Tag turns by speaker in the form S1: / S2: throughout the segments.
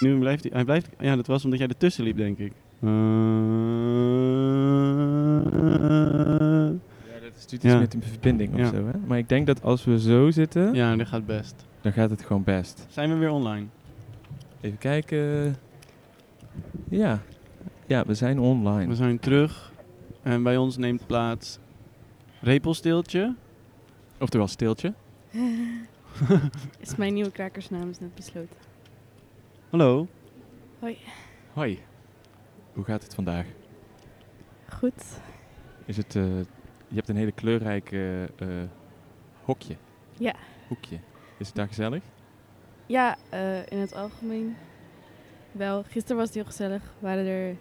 S1: Nu blijft hij, hij blijft, ja, dat was omdat jij ertussen liep, denk ik. Eh,
S2: Ja, dat is
S1: Ja.
S2: met een verbinding of
S1: Ja.
S2: zo. Hè? Maar ik denk dat als we zo zitten,
S1: ja, dat gaat best.
S2: dan gaat het gewoon best.
S1: Zijn we weer online?
S2: Even kijken. Ja. Ja, we zijn online.
S1: We zijn terug en bij ons neemt plaats Repelsteeltje.
S2: Oftewel stiltje.
S3: Is mijn nieuwe krakersnaam is net besloten.
S1: Hallo.
S2: Hoi. Hoe gaat het vandaag?
S3: Goed.
S2: Is het, eh, je hebt een hele kleurrijk eh, eh, hokje.
S3: Ja.
S2: Hoekje. Is het daar gezellig?
S3: Ja, eh, in het algemeen wel. Gisteren was het heel gezellig. Waren er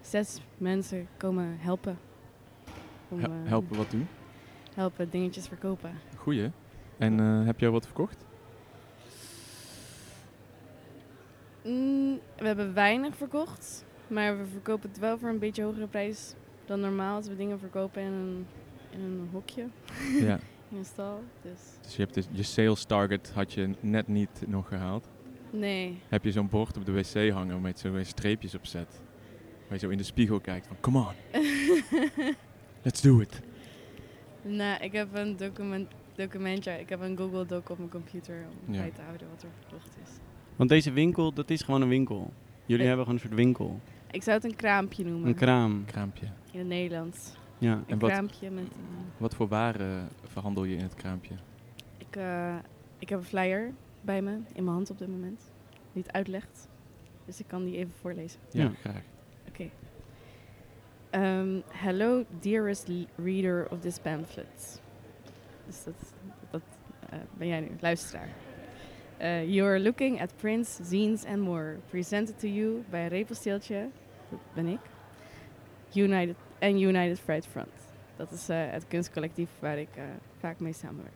S3: zes mensen komen helpen. Om,
S2: Hel-
S3: eh,
S2: helpen wat doen?
S3: helpen, dingetjes verkopen.
S2: Goeie. En eh, heb jij wat verkocht?
S3: Mm, we hebben weinig verkocht, maar we verkopen het wel voor een beetje hogere prijs dan normaal. Als we dingen verkopen in een, in een hokje,
S2: ja.
S3: in een stal. Dus
S2: Dus je hebt dus- je sales target had je net niet nog gehaald.
S3: nee,
S2: Heb je zo'n bord op de wc hangen met zo'n streepjes op zet. Waar je zo in de spiegel kijkt van, come on, let's do it.
S3: Nou, ik heb een document, documentje, ik heb een Google Doc op mijn computer om
S2: Ja.
S3: bij te houden wat er verkocht is.
S1: Want deze winkel, dat is gewoon een winkel. Jullie
S3: Eh.
S1: hebben gewoon een soort winkel.
S3: Ik zou het een kraampje noemen
S1: Een kraam.
S2: Kraampje.
S3: in het Nederlands.
S1: Ja.
S3: Een
S2: En wat-
S3: kraampje met. eh,
S2: Wat voor waren verhandel je in het kraampje?
S3: ik, eh, ik heb een flyer bij me in mijn hand op dit moment, die het uitlegt. Dus ik kan die even voorlezen.
S2: Ja,
S1: Ja.
S2: graag.
S3: Oké. Ehm, hello, dearest l- reader of this pamphlet. Dus dat, dat eh, ben jij nu, luisteraar. Eh, you are looking at prints, zines and more. Presented to you by Repelsteeltje, dat ben ik, United, en United Fright Front. Dat is eh, het kunstcollectief waar ik eh, vaak mee samenwerk.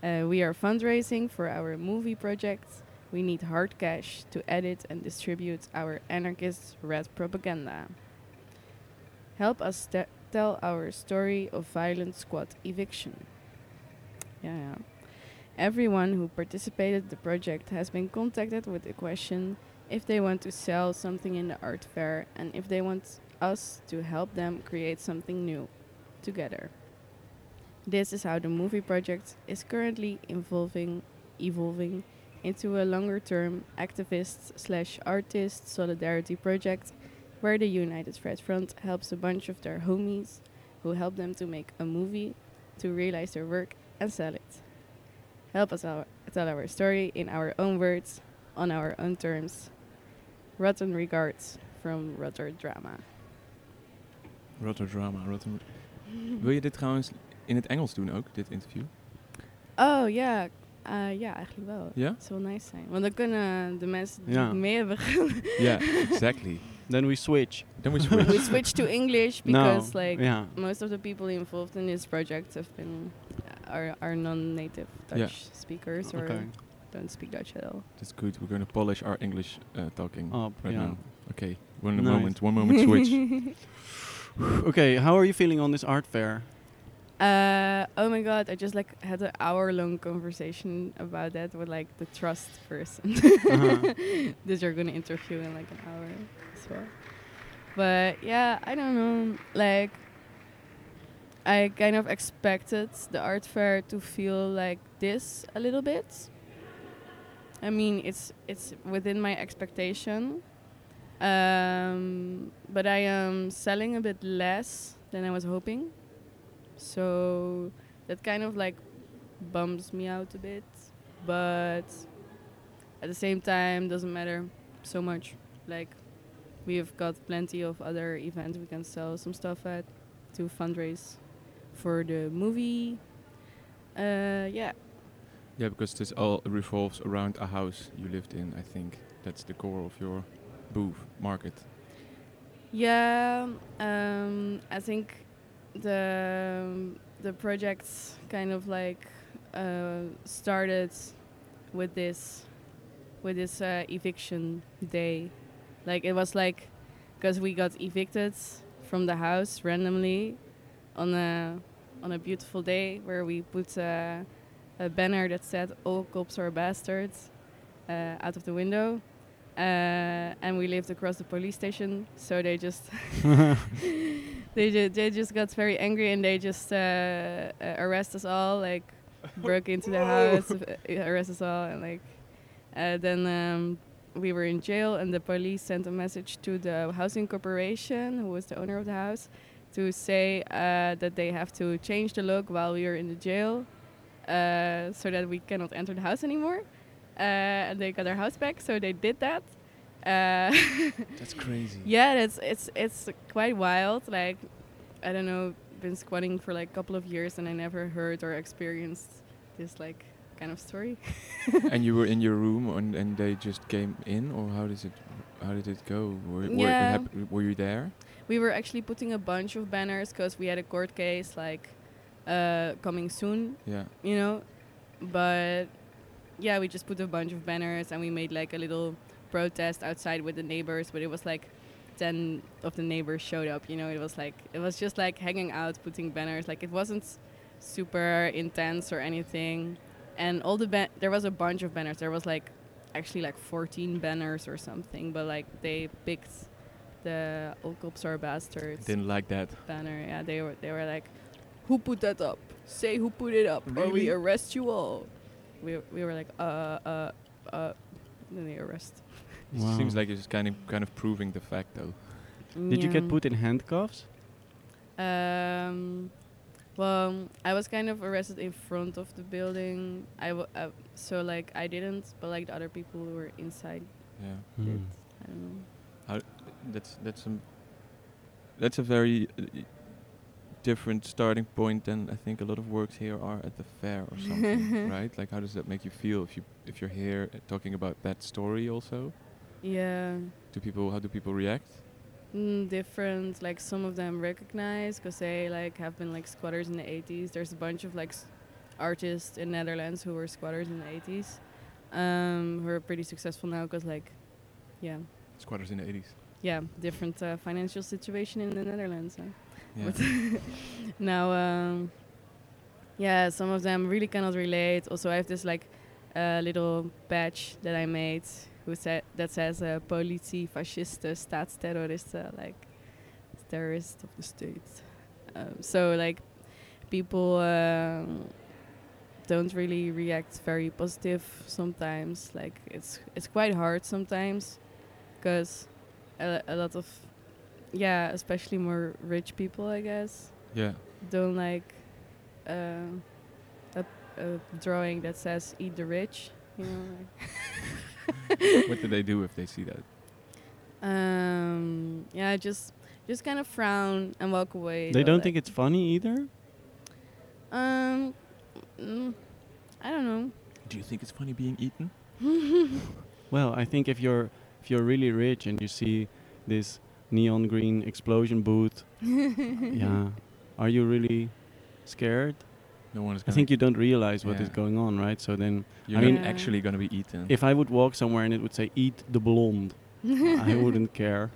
S3: Eh, we are fundraising for our movie project. We need hard cash to edit and distribute our anarchist red propaganda. Help us te- tell our story of violent squad eviction. Yeah, yeah. Everyone who participated the project has been contacted with the question if they want to sell something in the art fair and if they want us to help them create something new together. This is how the movie project is currently involving evolving into a longer term activist slash artist solidarity project where the United Fred Front helps a bunch of their homies who help them to make a movie, to realize their work and sell it. Help us our, tell our story in our own words, on our own terms. Rotten regards from Rotter Drama.
S2: Rotterdam, Rotterdam. Wil je dit trouwens in het Engels doen ook, dit interview?
S3: Oh ja, eh, ja, eigenlijk wel.
S2: Ja?
S3: Het zou wel nice zijn. Want dan kunnen de mensen die
S1: Ja.
S3: het mee hebben
S2: Ja, exactly.
S1: Then we switch.
S2: Dan moet
S3: We
S2: je
S3: switch to English
S1: Nou,
S3: because like
S1: ja.
S3: most of the people involved in this project have been are, are non-native Dutch
S2: Yeah.
S3: speakers or
S1: Oké.
S3: don't speak Dutch at all.
S2: That's good, we're going to polish our English eh, talking.
S1: Op,
S2: Right
S1: Oh, ja.
S2: now. Okay, one
S1: Nice.
S2: moment, one moment switch.
S1: Oké, how are you feeling on this art fair?
S3: Uh, oh my god! I just like had an hour-long conversation about that with like the trust person
S1: Uh-huh.
S3: that you're gonna interview in like an hour as well. But yeah, I don't know. Like, I kind of expected the art fair to feel like this a little bit. I mean, it's it's within my expectation, um, but I am selling a bit less than I was hoping, so that kind of like bums me out a bit. But at the same time, doesn't matter so much. Like, we have got plenty of other events we can sell some stuff at to fundraise for the movie. Uh, yeah,
S2: yeah, because this all revolves around a house you lived in, I think. That's the core of your booth, market.
S3: Yeah, um, I think the um, the projects kind of like uh, started with this with this uh, eviction day. Like it was like because we got evicted from the house randomly on a on a beautiful day where we put a, a banner that said "All cops are bastards" uh, out of the window, Uh, and we lived across the police station, so they just they, ju- they just got very angry and they just uh, uh, arrest us all, like broke into the house, uh, arrest us all, and like uh, then um, we were in jail. And the police sent a message to the housing corporation, who was the owner of the house, to say uh, that they have to change the lock while we are in the jail, uh, so that we cannot enter the house anymore. Uh, and they got their house back, so they did that. Uh,
S2: That's crazy.
S3: Yeah, it's it's it's quite wild. Like, I don't know, been squatting for like a couple of years, and I never heard or experienced this like kind of story.
S2: and you were in your room, and, and they just came in, or how does it, how did it go? Were, were,
S3: Yeah.
S2: it hap- were you there?
S3: We were actually putting a bunch of banners because we had a court case like uh, coming soon,
S2: Yeah.
S3: you know. But yeah, we just put a bunch of banners, and we made like a little protest outside with the neighbors. But it was like. 10 of the neighbors showed up you know it was like it was just like hanging out putting banners like it wasn't super intense or anything. And all the ban- there was a bunch of banners. There was like actually like 14 banners or something, but like they picked the all cops are bastards
S2: Didn't like that.
S3: banner. Yeah, they were they were like, who put that up? Say who put it up, or
S2: Really?
S3: we arrest you all. We we were like uh uh uh. Then they arrest.
S2: It seems
S1: Wow.
S2: like it's kind of kind of proving the fact though.
S1: Did you
S3: Yeah.
S1: get put in handcuffs?
S3: Um, well, I was kind of arrested in front of the building. I w- uh, so like I didn't, but like the other people who were inside.
S2: Yeah.
S1: Mm.
S3: Hmm. I don't know.
S2: That's that's a that's a very uh, y- different starting point than I think a lot of works here are at the fair or something, right? Like, how does that make you feel if you if you're here uh, talking about that story also?
S3: Yeah,
S2: Do people how do people react?
S3: mm, different. Like some of them recognize because they like have been like squatters in the 80s. There's a bunch of like s- artists in Netherlands who were squatters in the 80s, um, who are pretty successful now because like, yeah,
S2: Squatters in the 80s.
S3: yeah, different uh, financial situation in the Netherlands. Huh?
S2: Yeah.
S3: But now, um, yeah, some of them really cannot relate. Also, I have this like uh, little badge that I made who said that says uh, "politie fascisten staatsterroristen," like terrorist of the state. Um, so like people um, don't really react very positive sometimes. Like it's it's quite hard sometimes because a, a lot of yeah, especially more rich people, I guess,
S2: yeah.
S3: don't like uh, a, a drawing that says "eat the rich." You know, like
S2: what do they do if they see that?
S3: um, yeah, just just kind of frown and walk away.
S1: They
S3: They're
S1: don't
S3: like,
S1: think it's funny either?
S3: Um, mm, I don't know.
S2: Do you think it's funny being eaten?
S1: Well, I think if you're if you're really rich and you see this neon green explosion booth, yeah, are you really scared?
S2: No one is.
S1: I
S2: Gonna
S1: think you don't realize what is
S2: Yeah.
S1: going on, right? So then,
S2: You're
S1: I
S2: not
S3: mean-
S2: actually gonna be eaten.
S1: if I would walk somewhere and it would say "Eat the blonde," I wouldn't care.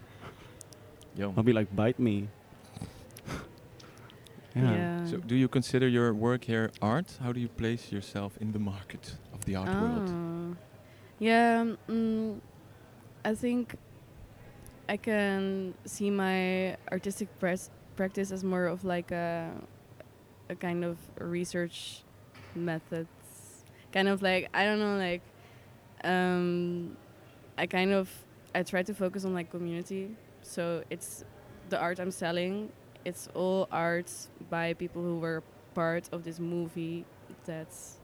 S2: Yo.
S1: I'll be like, "Bite me." yeah.
S2: So, do you consider your work here art? How do you place yourself in the market of the art world?
S3: Oh. Yeah, mm, I think I can see my artistic pres- practice as more of like a, a kind of research methods. Kind of like, I don't know, like, um, I kind of, I try to focus on like community. So it's the art I'm selling, it's all art by people who were part of this movie that's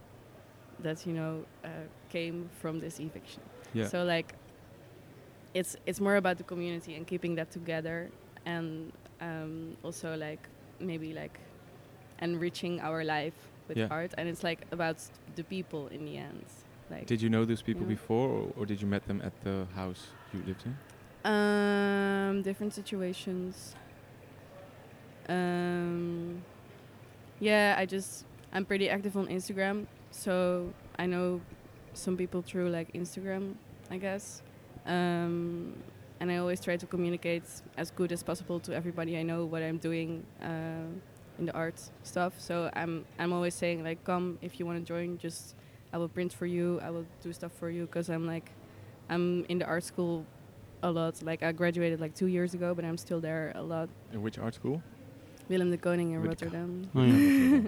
S3: that you know uh, came from this eviction.
S2: Yeah.
S3: So like, it's it's more about the community and keeping that together, and um, also like maybe like enriching our life with
S2: Yeah.
S3: art, and it's like about the people in the end. Like,
S2: Did you know those people
S3: Yeah.
S2: before, or, or did you met them at the house you lived in?
S3: Um, different situations. Um, yeah, I just I'm pretty active on Instagram, so I know some people through like Instagram, I guess. Um, and I always try to communicate as good as possible to everybody I know what I'm doing uh, in the art stuff. So I'm I'm always saying like, come if you want to join, just I will print for you, I will do stuff for you, because I'm like. I'm in the art school a lot. Like I graduated like two years ago, but I'm still there a lot.
S2: In which art school?
S3: Willem de Koning in
S2: With the co-
S3: Rotterdam.
S1: Oh, yeah.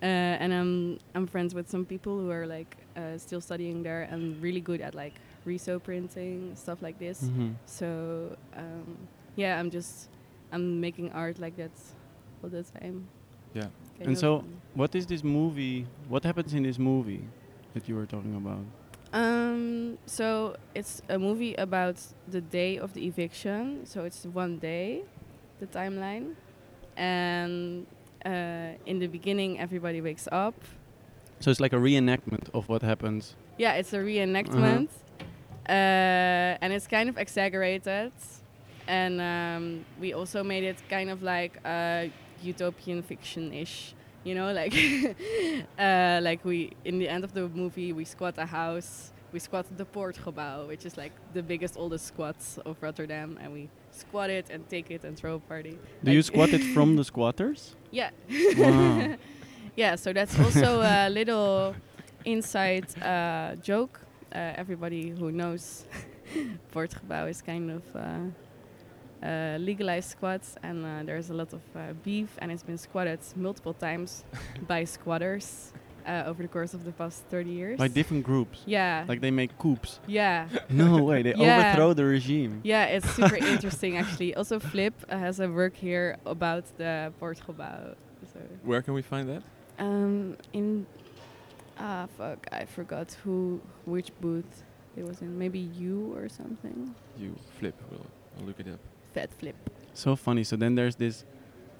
S3: Uh, and I'm I'm friends with some people who are like uh, still studying there and really good at like reso printing stuff like this.
S1: Mhm.
S3: So um, yeah, I'm just I'm making art like that all the time.
S2: Yeah.
S3: Kind
S1: And
S3: of.
S1: so- What is this movie? What happens in this movie that you were talking about?
S3: Um, so it's a movie about the day of the eviction. So it's one day, the timeline, and uh, in the beginning everybody wakes up.
S1: So it's like a reenactment of what happens.
S3: Yeah, it's a reenactment, uh and it's kind of exaggerated, and um, we also made it kind of like uh, utopian fiction-ish. You know, like uh, like we in the end of the movie we squat a house. We squat the Poortgebouw, which is like the biggest, oldest squats of Rotterdam, and we squat it and take it and throw a party.
S1: Do you
S3: Like-
S1: squat it from the squatters?
S3: Yeah.
S1: Wow.
S3: yeah, so that's also a little inside uh, joke. Uh, everybody who knows Poortgebouw is kind of uh, uh, legalized squats, and uh, there's a lot of uh, beef, and it's been squatted multiple times by squatters uh, over the course of the past 30 years.
S1: By different groups.
S3: yeah.
S1: Like they make coups.
S3: yeah.
S1: No way, they
S3: Yeah.
S1: overthrow the regime.
S3: Yeah, it's super interesting actually. Also, Flip uh, has a work here about the Poortgebouw. So.
S2: Where can we find that?
S3: Um, in ah fuck, I forgot who which booth it was in. Maybe you or something.
S2: You flip. We'll, I'll look it up.
S3: Fat flip.
S1: So funny. So then there's this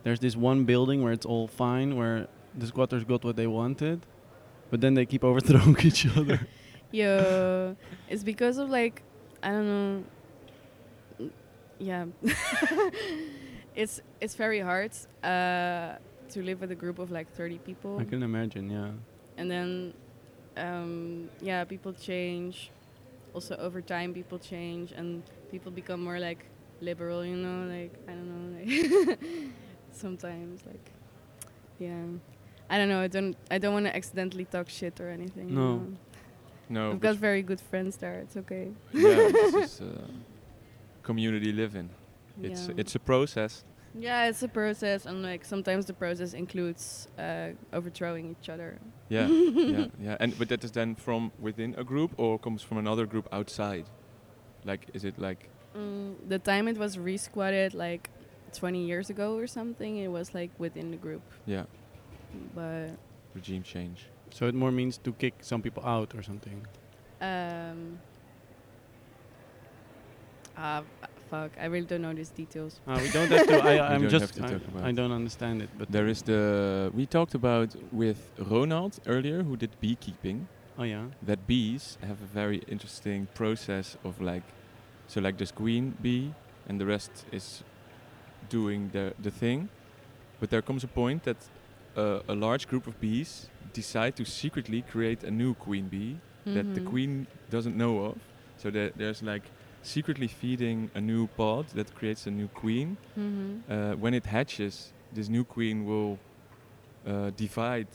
S1: there's this one building where it's all fine, where the squatters got what they wanted, but then they keep overthrowing each other.
S3: Yo, it's because of like I don't know. Mm, Yeah, it's it's very hard uh, to live with a group of like thirty people.
S1: I can imagine, yeah.
S3: and then um, yeah people change also over time people change and people become more like liberal you know like i don't know like sometimes like yeah i don't know i don't i don't want to accidentally talk shit or anything you
S1: No.
S3: know.
S2: No.
S3: i've got very good friends there it's okay
S2: but yeah, this is uh, community living. It's
S3: yeah.
S2: it's a process.
S3: yeah it's a process and like sometimes the process includes uh, overthrowing each other
S2: Yeah, yeah, yeah. And but that is then from within a group or comes from another group outside. Like, is it like
S3: Mm, the time it was resquatted, like 20 years ago or something, it was like within the group.
S2: yeah,
S3: But
S2: regime change?
S1: So it more means to kick some people out or something.
S3: um, ah, fuck, I really don't know these details.
S1: Uh, we don't have to. I,
S2: We
S1: I'm
S2: don't
S1: just.
S2: have to
S1: I,
S2: talk about
S1: I
S2: it.
S1: don't understand it. But
S2: There is the we talked about with Ronald earlier, who did beekeeping.
S1: Oh yeah.
S2: that bees have a very interesting process of like so like this queen bee and the rest is doing the the thing but there comes a point that uh, a large group of bees decide to secretly create a new queen bee that the
S3: Mhm.
S2: queen doesn't know of so there, there's like secretly feeding a new pod that creates a new queen
S3: Mhm.
S2: uh, when it hatches, this new queen will uh, divide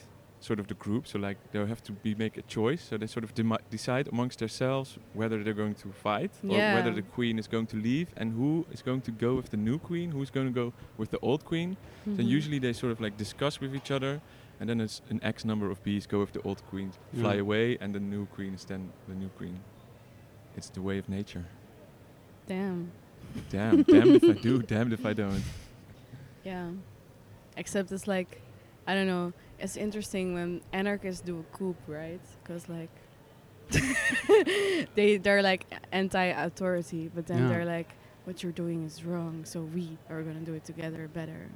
S2: sort of the group. So like they'll have to be make a choice. So they sort of demi- decide amongst themselves whether they're going to fight or whether
S3: Yeah.
S2: the queen is going to leave and who is going to go with the new queen, who's going to go with the old queen. So
S3: Mhm.
S2: usually they sort of like discuss with each other. And then it's an X number of bees go with the old queen, fly
S1: Yeah.
S2: away, and the new queen is then the new queen. It's the way of nature.
S3: Damn.
S2: Damn, damned if I do, damned if I don't.
S3: Yeah. Except it's like, I don't know, it's interesting when anarchists do a coup, right? Because, like, they, they're like anti authority, but then
S1: Yeah.
S3: they're like, what you're doing is wrong, so we are going to do it together better.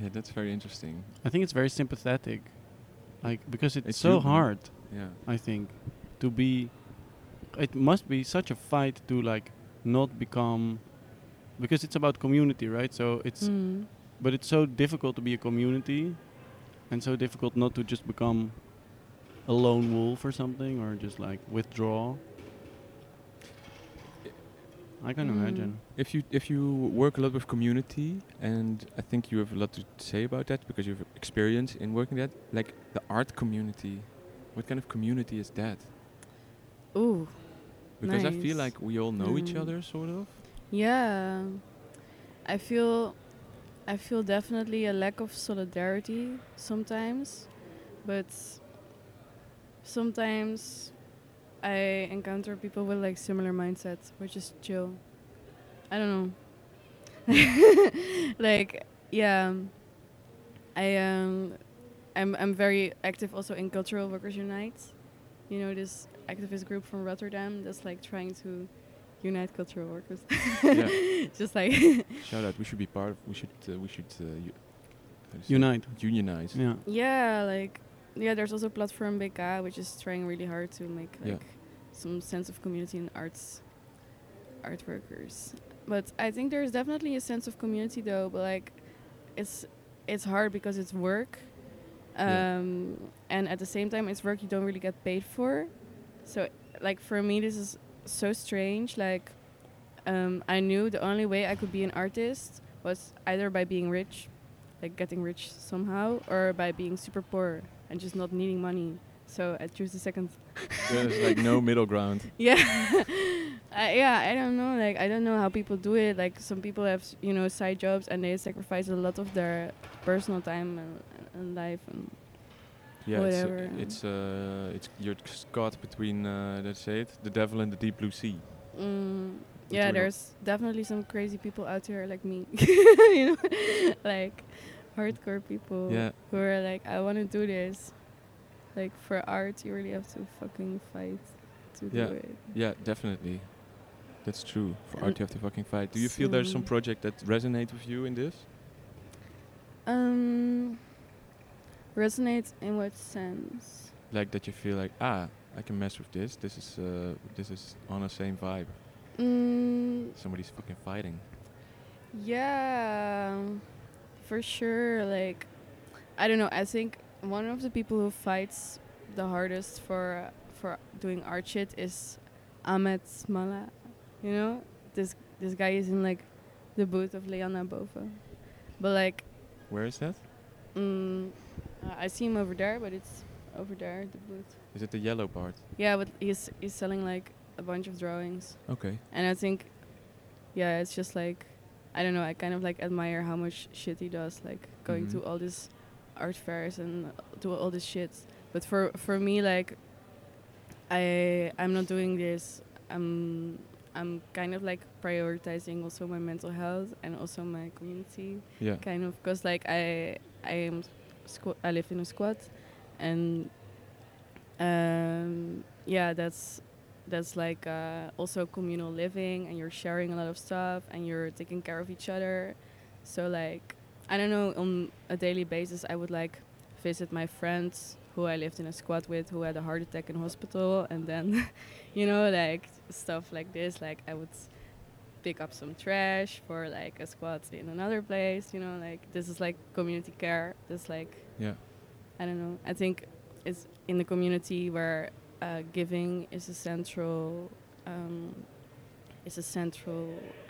S2: Yeah, that's very interesting.
S1: I think it's very sympathetic, like because it's,
S2: It's
S1: so
S2: human.
S1: hard.
S2: Yeah.
S1: I think to be, it must be such a fight to like not become, because it's about community, right? So it's
S3: Mm.
S1: but it's so difficult to be a community, and so difficult not to just become a lone wolf or something, or just like withdraw. I can
S3: Mm.
S1: imagine.
S2: If you if you work a lot with community, and I think you have a lot to say about that because you have experience in working that, like the art community, what kind of community is that?
S3: Ooh.
S2: Because I
S3: Nice.
S2: feel like we all know each
S3: Mm.
S2: other, sort of.
S3: Yeah, I feel, I feel definitely a lack of solidarity sometimes, but sometimes I encounter people with like similar mindsets, which is chill. I don't know. like yeah, I um, I'm I'm very active also in Cultural Workers Unite. You know this activist group from Rotterdam that's like trying to unite cultural workers.
S2: Yeah.
S3: Just like
S2: Shout out. We should be part of. We should. Uh, we should. Uh, u- how do you say it?
S1: Unite.
S2: Unionize.
S1: Yeah.
S3: yeah, like yeah. There's also platform BK, which is trying really hard to make
S2: Yeah.
S3: like some sense of community in arts, art workers. But I think there's definitely a sense of community though. But like, it's it's hard because it's work,
S2: Yeah.
S3: um, and at the same time, it's work you don't really get paid for. So like for me, this is so strange. Like, um, I knew the only way I could be an artist was either by being rich, like getting rich somehow, or by being super poor and just not needing money. So I choose the second.
S2: There's like no middle ground.
S3: Yeah, I, yeah. I don't know. Like I don't know how people do it. Like some people have you know side jobs and they sacrifice a lot of their personal time and, and life. And
S2: Yeah.
S3: Whatever, yeah.
S2: It's. Uh, it's. Uh, it's. You're c- caught between. Uh, that's it. The devil and the deep blue sea.
S3: mm,
S2: That's
S3: yeah,
S2: real.
S3: there's definitely some crazy people out there like me. you know, like hardcore people
S2: Yeah.
S3: who are like, I want to do this. Like for art, you really have to fucking fight to
S2: Yeah.
S3: do it.
S2: Yeah. Definitely. That's true. For
S3: And
S2: art, you have to fucking fight. Do you feel there's some
S3: so-
S2: project that resonate with you in this?
S3: Um, resonates in what sense?
S2: Like that you feel like ah, I can mess with this. This is. Uh, this is on the same vibe.
S3: Mm,
S2: Somebody's fucking fighting.
S3: yeah, for sure. Like, I don't know. I think one of the people who fights the hardest for for doing art shit is Ahmed Smala. You know, this this guy is in like the booth of Leanna Bova, but like
S2: Where is that?
S3: Mm, uh, I see him over there, but it's over there, the booth.
S2: Is it the yellow part?
S3: Yeah, but he's he's selling like a bunch of drawings,
S2: Okay.
S3: and I think, yeah, it's just like, I don't know. I kind of like admire how much shit he does, like going
S2: Mhm.
S3: to all these art fairs and do all this shit. But for for me, like, I I'm not doing this. I'm I'm kind of like prioritizing also my mental health and also my community
S2: Yeah.
S3: kind of because like I I am squ- I live in a squad and um, yeah that's that's like uh, also communal living and you're sharing a lot of stuff and you're taking care of each other so like I don't know on a daily basis I would like visit my friends who I lived in a squad with who had a heart attack in hospital and then you know like stuff like this like I would pick up some trash for like a squad in another place you know like this is like community care this like
S2: Yeah.
S3: I don't know. I think it's in the community where uh, giving is a central, um, is a central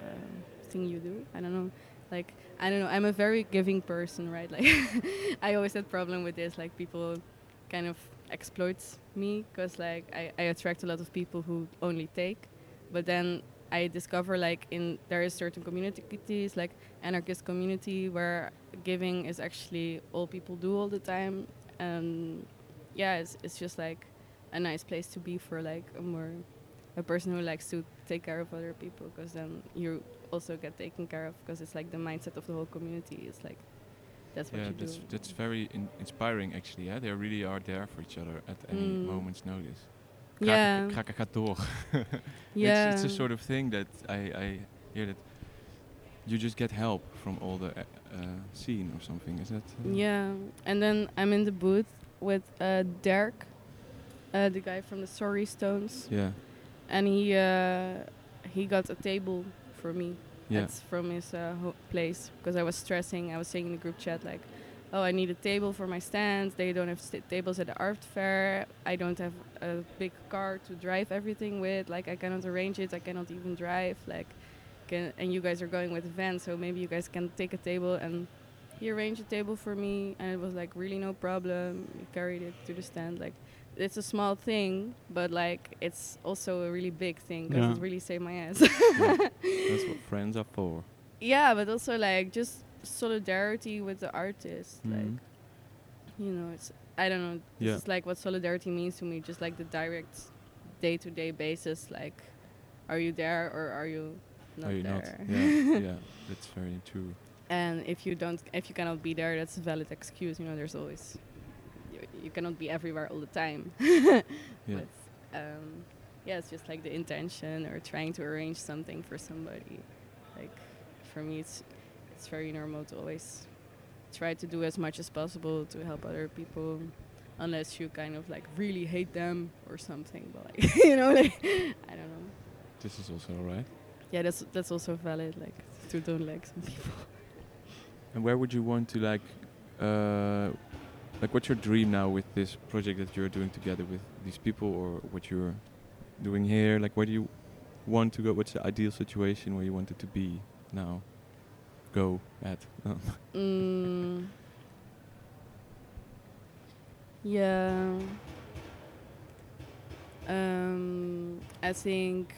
S3: um, thing you do. I don't know. Like I don't know. I'm a very giving person, right? Like I always had problem with this. Like people kind of exploits me because like I, I attract a lot of people who only take, but then. I discover like in there is certain communities like anarchist community where giving is actually all people do all the time and yeah it's, it's just like a nice place to be for like a more a person who likes to take care of other people because then you also get taken care of because it's like the mindset of the whole community it's like that's what
S2: yeah,
S3: you
S2: that's
S3: do
S2: that's very in- inspiring actually. Yeah, they really are there for each other at any
S3: Mm.
S2: moment's notice.
S3: yeah
S2: Ga- ga- ga- ga- door.
S3: yeah
S2: It's, it's a sort of thing that I, I hear that you just get help from all the uh, uh, scene or something. Is that? uh,
S3: Yeah, and then I'm in the booth with uh, Dirk, uh, the guy from the Sorry Stones,
S2: Yeah.
S3: and he uh, he got a table for me.
S2: Yeah.
S3: It's from his uh, ho- place because I was stressing. I was saying in the group chat like, "Oh, I need a table for my stand. They don't have sta tables at the art fair. I don't have a big car to drive everything with. Like, I cannot arrange it. I cannot even drive. Like, can and you guys are going with a van, so maybe you guys can take a table and." He arranged a table for me, and it was like really no problem. He carried it to the stand. Like it's a small thing, but like it's also a really big thing because
S1: Yeah.
S3: it really saved my ass.
S2: That's what friends are for.
S3: yeah, but also like just solidarity with the artist.
S2: Hmm?
S3: Like you know, it's I don't know. This
S2: Mm-hmm. Yeah.
S3: is like what solidarity means to me. Just like the direct, day to day basis. Like, are you there or are you not
S2: are you
S3: there?
S2: not? Yeah, yeah, that's very true.
S3: and if you don't if you cannot be there that's a valid excuse you know there's always you, you cannot be everywhere all the time
S2: Yeah.
S3: but um, yeah it's just like the intention or trying to arrange something for somebody like for me it's it's very normal to always try to do as much as possible to help other people unless you kind of like really hate them or something but like you know like i don't know
S2: This is also alright.
S3: yeah that's that's also valid like to don't like some people
S2: And where would you want to like, uh, like what's your dream now with this project that you're doing together with these people, or what you're doing here? Like, where do you want to go? What's the ideal situation where you want it to be now? Go at. Um,
S3: Mm. Yeah. Um, I think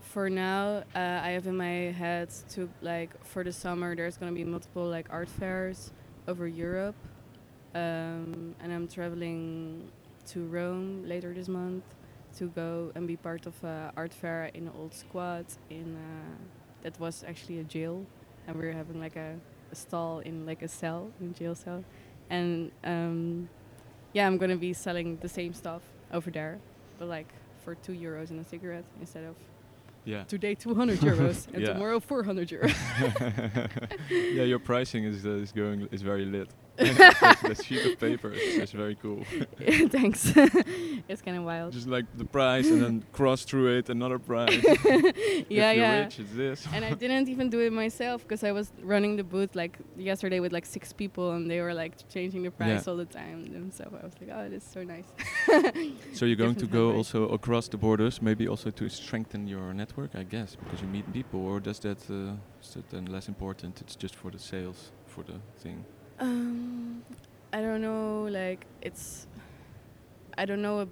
S3: for now uh, I have in my head to like for the summer there's gonna be multiple like art fairs over Europe, um, and I'm traveling to Rome later this month to go and be part of a art fair in an old squad in uh, that was actually a jail, and we are having like a a stall in like a cell, in a jail cell, and um, yeah, I'm gonna be selling the same stuff over there, but like for two euros and a cigarette instead of
S2: yeah.
S3: today 200 euros and
S2: Yeah.
S3: tomorrow 400 euros.
S2: yeah, your pricing is uh, is going is very lit. that, that sheet of paper is, is very cool.
S3: Yeah, Thanks. it's kind of wild.
S2: Just like the price, and then cross through it another price.
S3: yeah,
S2: if you're
S3: yeah.
S2: rich, it's this.
S3: and I didn't even do it myself because I was running the booth like yesterday with like six people and they were like changing the price
S2: Yeah.
S3: all the time. And so I was like, oh, this is so nice.
S2: So you're going to
S3: Different
S2: go
S3: handwriting.
S2: also across the borders, maybe also to strengthen your network, I guess, because you meet people, or does that uh, is that then less important? It's just for the sales, for the thing.
S3: Um, I don't know. Like it's, I don't know.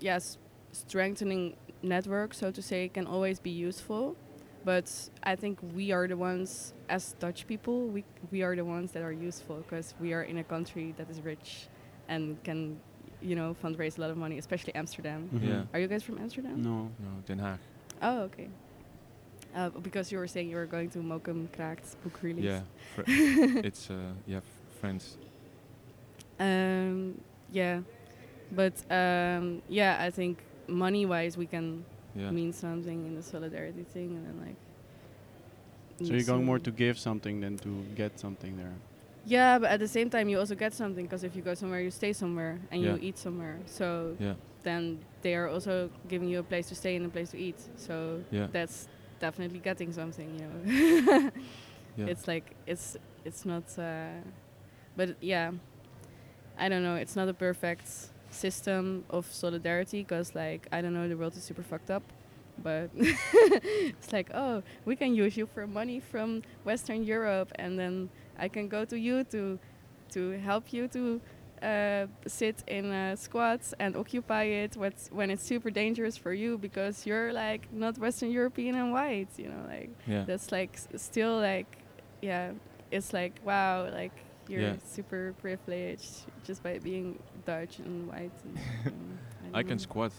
S3: Yes, strengthening network, so to say, can always be useful. But I think we are the ones, as Dutch people, we we are the ones that are useful because we are in a country that is rich, and can, you know, fundraise a lot of money, especially Amsterdam.
S1: Mhm.
S2: Yeah.
S3: Are you guys from Amsterdam?
S1: No.
S2: No, Den Haag.
S3: Oh, okay. Uh, because you were saying you were going to Mokum Kraakt book release.
S2: Yeah, fr- it's uh, yeah, f- friends.
S3: Um, yeah, but um, yeah, I think money-wise we can
S2: Yeah,
S3: mean something in the solidarity thing, and then like.
S1: So
S3: mm,
S1: you're going more
S3: some-
S1: to give something than to get something there.
S3: Yeah, but at the same time you also get something because if you go somewhere, you stay somewhere and you
S2: Yeah.
S3: eat somewhere. So
S2: yeah,
S3: then they are also giving you a place to stay and a place to eat. So
S2: yeah,
S3: that's definitely getting something, you know.
S2: yeah.
S3: it's like it's it's not uh, but it- yeah i don't know it's not a perfect system of solidarity because like i don't know the world is super fucked up but it's like oh we can use you for money from western europe and then i can go to you to to help you to uh, sit in uh, squats and occupy it what's, when it's super dangerous for you because you're like not western european and white you know like
S2: yeah.
S3: that's like s- still like yeah it's like wow like you're
S2: Yeah.
S3: super privileged just by being dutch and white and, um,
S2: I
S3: don't
S2: can
S3: know.
S2: squat.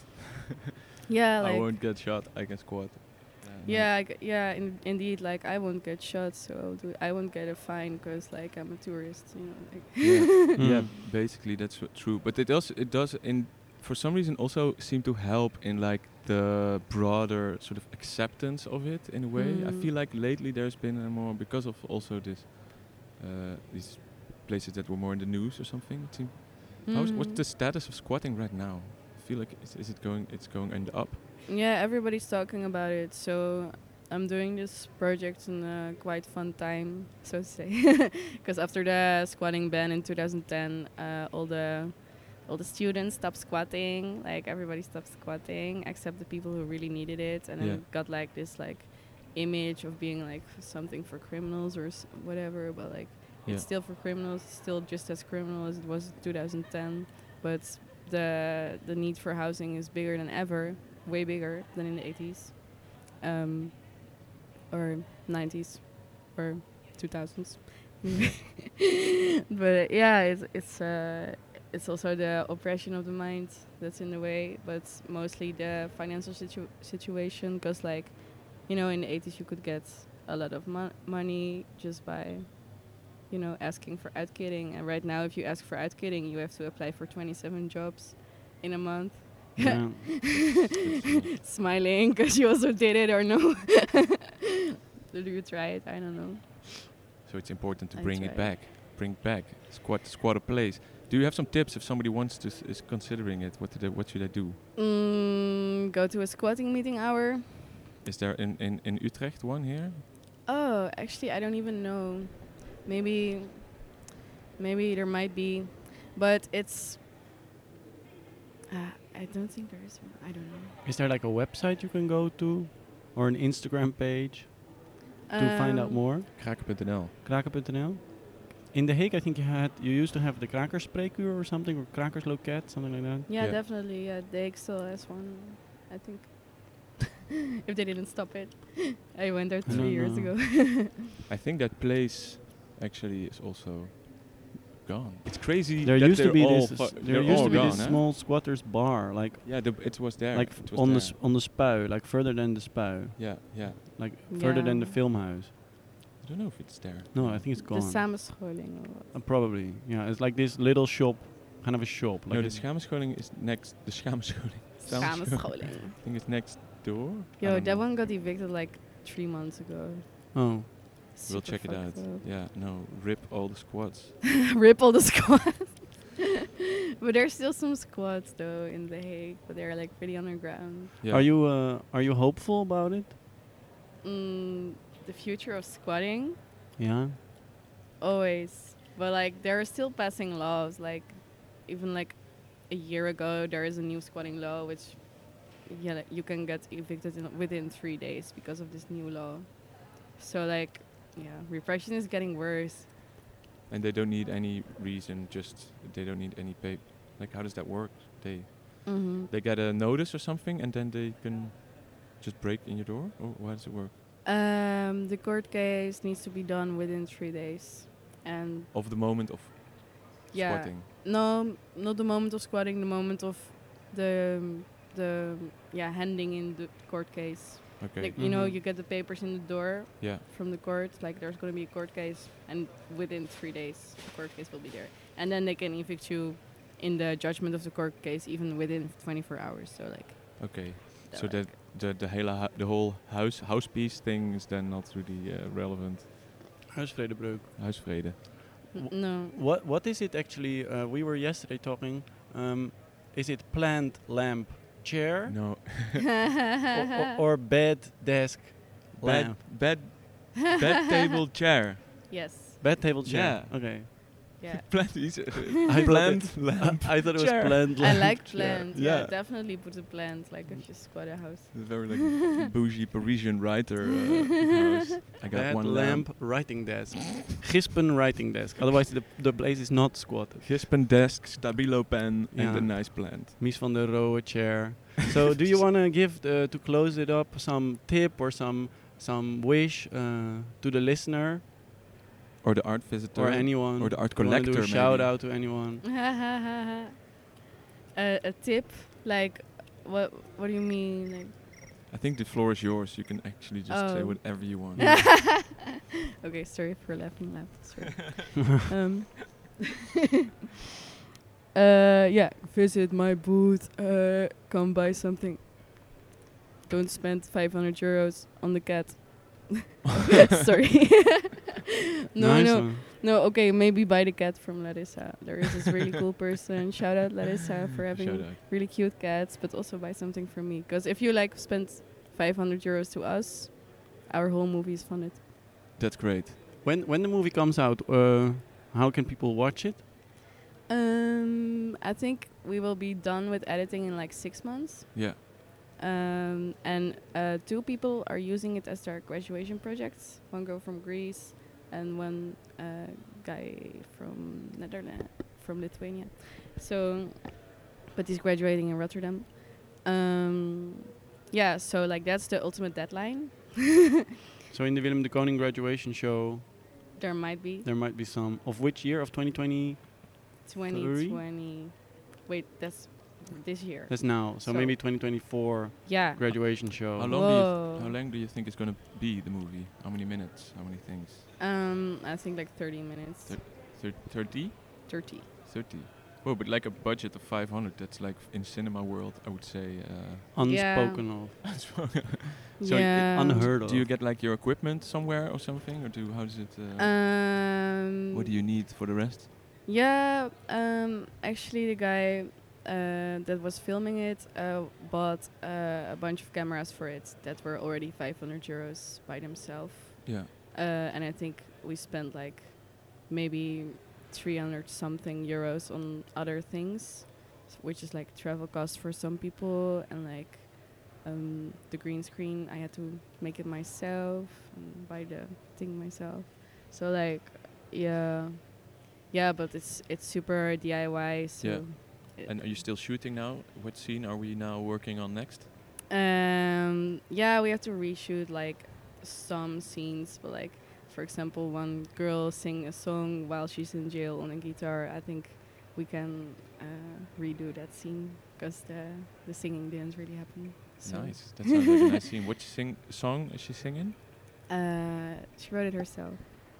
S3: yeah like
S2: I won't get shot. I can squat. Yeah, no.
S3: yeah I g- yeah in, indeed like i won't get shot so I'll do, i won't get a fine because like i'm a tourist you know like
S2: yeah, yeah
S1: Mm.
S2: basically that's wha- true but it does it does in for some reason also seem to help in like the broader sort of acceptance of it in a way i
S3: Mm.
S2: feel like lately there's been a more because of also this uh, these places that were more in the news or something it seem- how's, what's
S3: Mhm.
S2: the status of squatting right now i feel like is, is it going it's going and up
S3: Yeah, everybody's talking about it. So I'm doing this project in a quite fun time, so to say, because after the squatting ban in 2010, uh, all the all the students stopped squatting. Like everybody stopped squatting, except the people who really needed it, and then
S2: Yeah.
S3: it got like this like image of being like something for criminals or s- whatever. But like
S2: Yeah.
S3: it's still for criminals, it's still just as criminal as it was in 2010. But the the need for housing is bigger than ever, way bigger than in the 80s, um, or 90s, or 2000s. but yeah, it's it's uh, it's also the oppression of the mind that's in the way, but mostly the financial situ- situation. Because like, you know, in the 80s you could get a lot of mon- money just by you know, asking for uitkering. And right now, if you ask for uitkering, you have to apply for 27 jobs in a month.
S1: yeah.
S3: Smiling because you also did it or no? did you try it? I don't know.
S2: So it's important to
S3: I
S2: bring it
S3: tried.
S2: back. Bring it back. Squat, squat a place. Do you have some tips if somebody wants to s- is considering it? What do they, what should I do?
S3: Mm, go to a squatting meeting hour.
S2: Is there in in, in Utrecht one here?
S3: Oh, actually, I don't even know. Maybe, maybe there might be, but it's. Uh, I don't think there is. One. I don't know.
S1: Is there like a website you can go to, or an Instagram page to find out
S3: Um,
S1: more?
S2: Kraken.nl.
S1: Kraken.nl. In The Hague, I think you had you used to have the Krakerspreekuur or something, or Krakersloket, something like that.
S3: Yeah,
S2: Yeah.
S3: definitely. Yeah, they still has one, I think. if they didn't stop it, I went there
S1: I
S3: three
S1: don't
S3: years
S1: know.
S3: ago.
S2: I think that place actually is also gone. It's crazy.
S1: There
S2: that
S1: used to
S2: they're
S1: be
S2: all
S1: this.
S2: fu-
S1: there
S2: they're
S1: used
S2: all
S1: to be
S2: gone,
S1: this
S2: hè?
S1: small squatters bar, like
S2: Yeah, the, it was there.
S1: like
S2: it was
S1: on the
S2: there.
S1: s- on the spui, like further than the spui,
S2: Yeah, yeah.
S1: like further than the
S3: Yeah.
S1: filmhouse.
S2: I don't know if it's there.
S1: No, I think it's
S3: the
S1: gone.
S3: samenscholing. or what.
S1: Uh, probably, yeah. It's like this little shop, kind of a shop. Like
S2: no, the
S1: it's-
S2: Schaamscholing is next. The Schaamscholing. Samenscholing.
S3: Samenscholing.
S2: I think it's next door. I
S3: Yo,
S2: don't
S3: that
S2: know.
S3: one got evicted like three months ago.
S1: oh,
S2: We'll
S3: Super
S2: check it out.
S3: fucked up.
S2: Yeah, no, rip all the squads.
S3: Rip all the squads. but there's still some squads though in The Hague, but they're like pretty underground.
S2: Yeah.
S1: are you uh, are you hopeful about it?
S3: Mm, the future of squatting.
S1: Yeah.
S3: always but like there are still passing laws like even like a year ago there is a new squatting law which yeah like, you can get evicted in, within three days because of this new law so like yeah repression is getting worse
S2: And they don't need any reason. Just they don't need any pay. Like, how does that work? They
S3: mm-hmm.
S2: they get a notice or something, and then they can just break in your door. Or how does it work?
S3: um, the court case needs to be done within three days and
S2: Of the moment of
S3: yeah
S2: squatting.
S3: no not the moment of squatting the moment of the the yeah handing in the court case
S2: Okay.
S3: like you know
S1: Mhm.
S3: you get the papers in the door
S2: yeah.
S3: from the court, like there's going to be a court case, and within three days, the court case will be there. And then they can evict you in the judgment of the court case, even within 24 hours. So, like,
S2: Okay.
S3: they're
S2: so that
S3: like-
S2: the the hele hu- the whole house house piece thing is then not really uh, relevant.
S1: Huisvredebreuk.
S2: Huisvrede.
S3: N- no.
S1: What what is it actually? Uh, we were yesterday talking. Um, is it plant lamp chair
S2: No.
S1: or, or, or bed desk
S2: Bed
S1: lamp?
S2: bed bed table chair.
S3: yes.
S1: Bed table chair.
S2: Yeah.
S1: Okay.
S3: Yeah.
S2: Plant. uh, is-
S1: I thought
S2: Plant
S1: it-
S2: lamp.
S1: I thought it was
S2: chair.
S1: plant
S3: I
S1: lamp.
S3: like
S2: Yeah.
S3: plants. Yeah.
S2: Yeah.
S3: definitely put a plant, like if you squat a house.
S2: The very like bougie Parisian writer. Uh, house. I got
S1: Bed
S2: one
S1: lamp,
S2: lamp.
S1: writing desk. Gispen writing desk. Otherwise the, the place is not squatted.
S2: Gispen desk, stabilo pen, and
S1: Yeah.
S2: a nice plant.
S1: Mies van der Rohe chair. So do you want to give uh, to close it up some tip or some some wish uh, to the listener
S2: Or the art visitor.
S1: or anyone?
S2: or the art
S1: You wanna do
S2: collector.
S1: a shout
S2: maybe.
S1: out to anyone.
S3: uh, a tip, like, what what do you mean? Like,
S2: I think the floor is yours. You can actually just say
S3: Oh.
S2: whatever you want.
S3: okay, sorry for laughing loud. Sorry. um, uh, yeah, visit my booth. Uh, come buy something. Don't spend 500 euros on the cat. sorry. no,
S1: nice
S3: no,
S1: one.
S3: no. Okay, maybe buy the cat from Larissa. There is this really cool person. Shout out Larissa for having
S2: Shout out.
S3: really cute cats, but also buy something for me. Because if you like spend 500 euros to us, our whole movie is funded.
S2: That's great.
S1: When when the movie comes out, uh, how can people watch it?
S3: Um, I think we will be done with editing in like six months.
S2: Yeah.
S3: Um, and uh, two people are using it as their graduation projects. One girl from Greece and one uh, guy from Netherlands, from Lithuania. So but he's graduating in Rotterdam. Um, yeah, so like that's the ultimate deadline.
S1: So in the Willem de Koning graduation show,
S3: There might be
S1: there might be some. Of which year? Of 2020?
S3: 2020. Wait, that's this year.
S1: That's now. So,
S3: So-
S1: maybe 2024
S3: yeah.
S1: graduation show.
S2: How long, do you
S3: Whoa.
S2: th- how long do you think it's going to be, the movie? How many minutes? How many things?
S3: Um, I think like 30 minutes.
S2: Thir- Thir- 30?
S3: 30.
S2: 30. Oh, but like a budget of 500, that's like in cinema world, I would say. Uh,
S3: Yeah.
S1: Unspoken of.
S2: So it-
S3: yeah.
S1: Unheard of.
S2: do you get like your equipment somewhere or something? Or do how does it. Uh,
S3: Um,
S2: what do you need for the rest?
S3: Yeah, um, actually, the guy uh, that was filming it uh, bought uh, a bunch of cameras for it that were already 500 euros by themselves.
S2: Yeah.
S3: Uh, and I think we spent like maybe 300 something euros on other things, s- which is like travel costs for some people and like um, the green screen. I had to make it myself and buy the thing myself. So like, yeah, yeah, but it's it's super DIY. So
S2: Yeah.
S3: it-
S2: And are you still shooting now? What scene are we now working on next?
S3: Um, yeah, we have to reshoot like some scenes, but like for example, one girl sing a song while she's in jail on a guitar. I think we can uh, redo that scene because the the singing didn't really happen. So,
S2: Nice. That sounds like a nice scene. Which sing- song is she singing?
S3: Uh, she wrote it herself.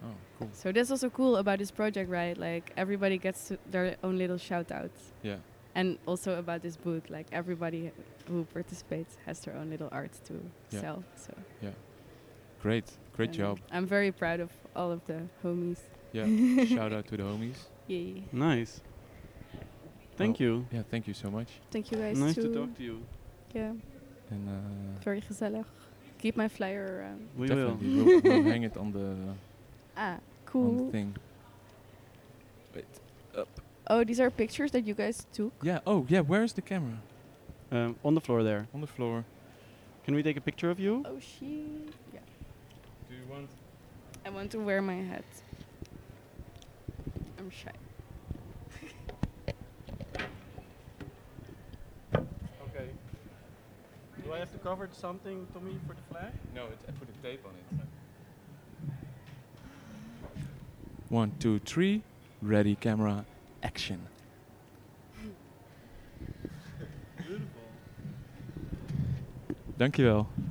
S2: Oh, cool.
S3: So that's also cool about this project, right? Like everybody gets to their own little shout outs.
S2: Yeah.
S3: And also about this booth, like everybody who participates has their own little art to
S2: Yeah.
S3: sell. So
S2: Great. Great
S3: Um,
S2: job.
S3: I'm very proud of all of the homies.
S2: Yeah. Shout out to the homies.
S3: Yay.
S1: Nice. Thank you.
S2: Yeah, thank you so much.
S3: Thank you guys
S1: Nice
S3: too.
S1: to talk to you.
S3: Yeah,
S2: And uh,
S3: very gezellig. Keep my flyer um, around.
S1: We will.
S2: definitely, we'll, we'll hang it on the,
S3: Ah,
S2: on the
S3: cool.
S2: thing.
S3: Oh, these are pictures that you guys took.
S2: Yeah. Oh, yeah. Where is the camera?
S1: Um, on the floor there.
S2: On the floor.
S1: Can we take a picture of you?
S3: Oh, she. Yeah.
S2: Do you want?
S3: I want to wear my hat. I'm shy.
S1: Okay. Do I have to cover something, Tommy, for the flag?
S2: No, it, I put a tape on it. One, two, three. Ready, camera, action.
S1: Beautiful.
S2: Dankjewel.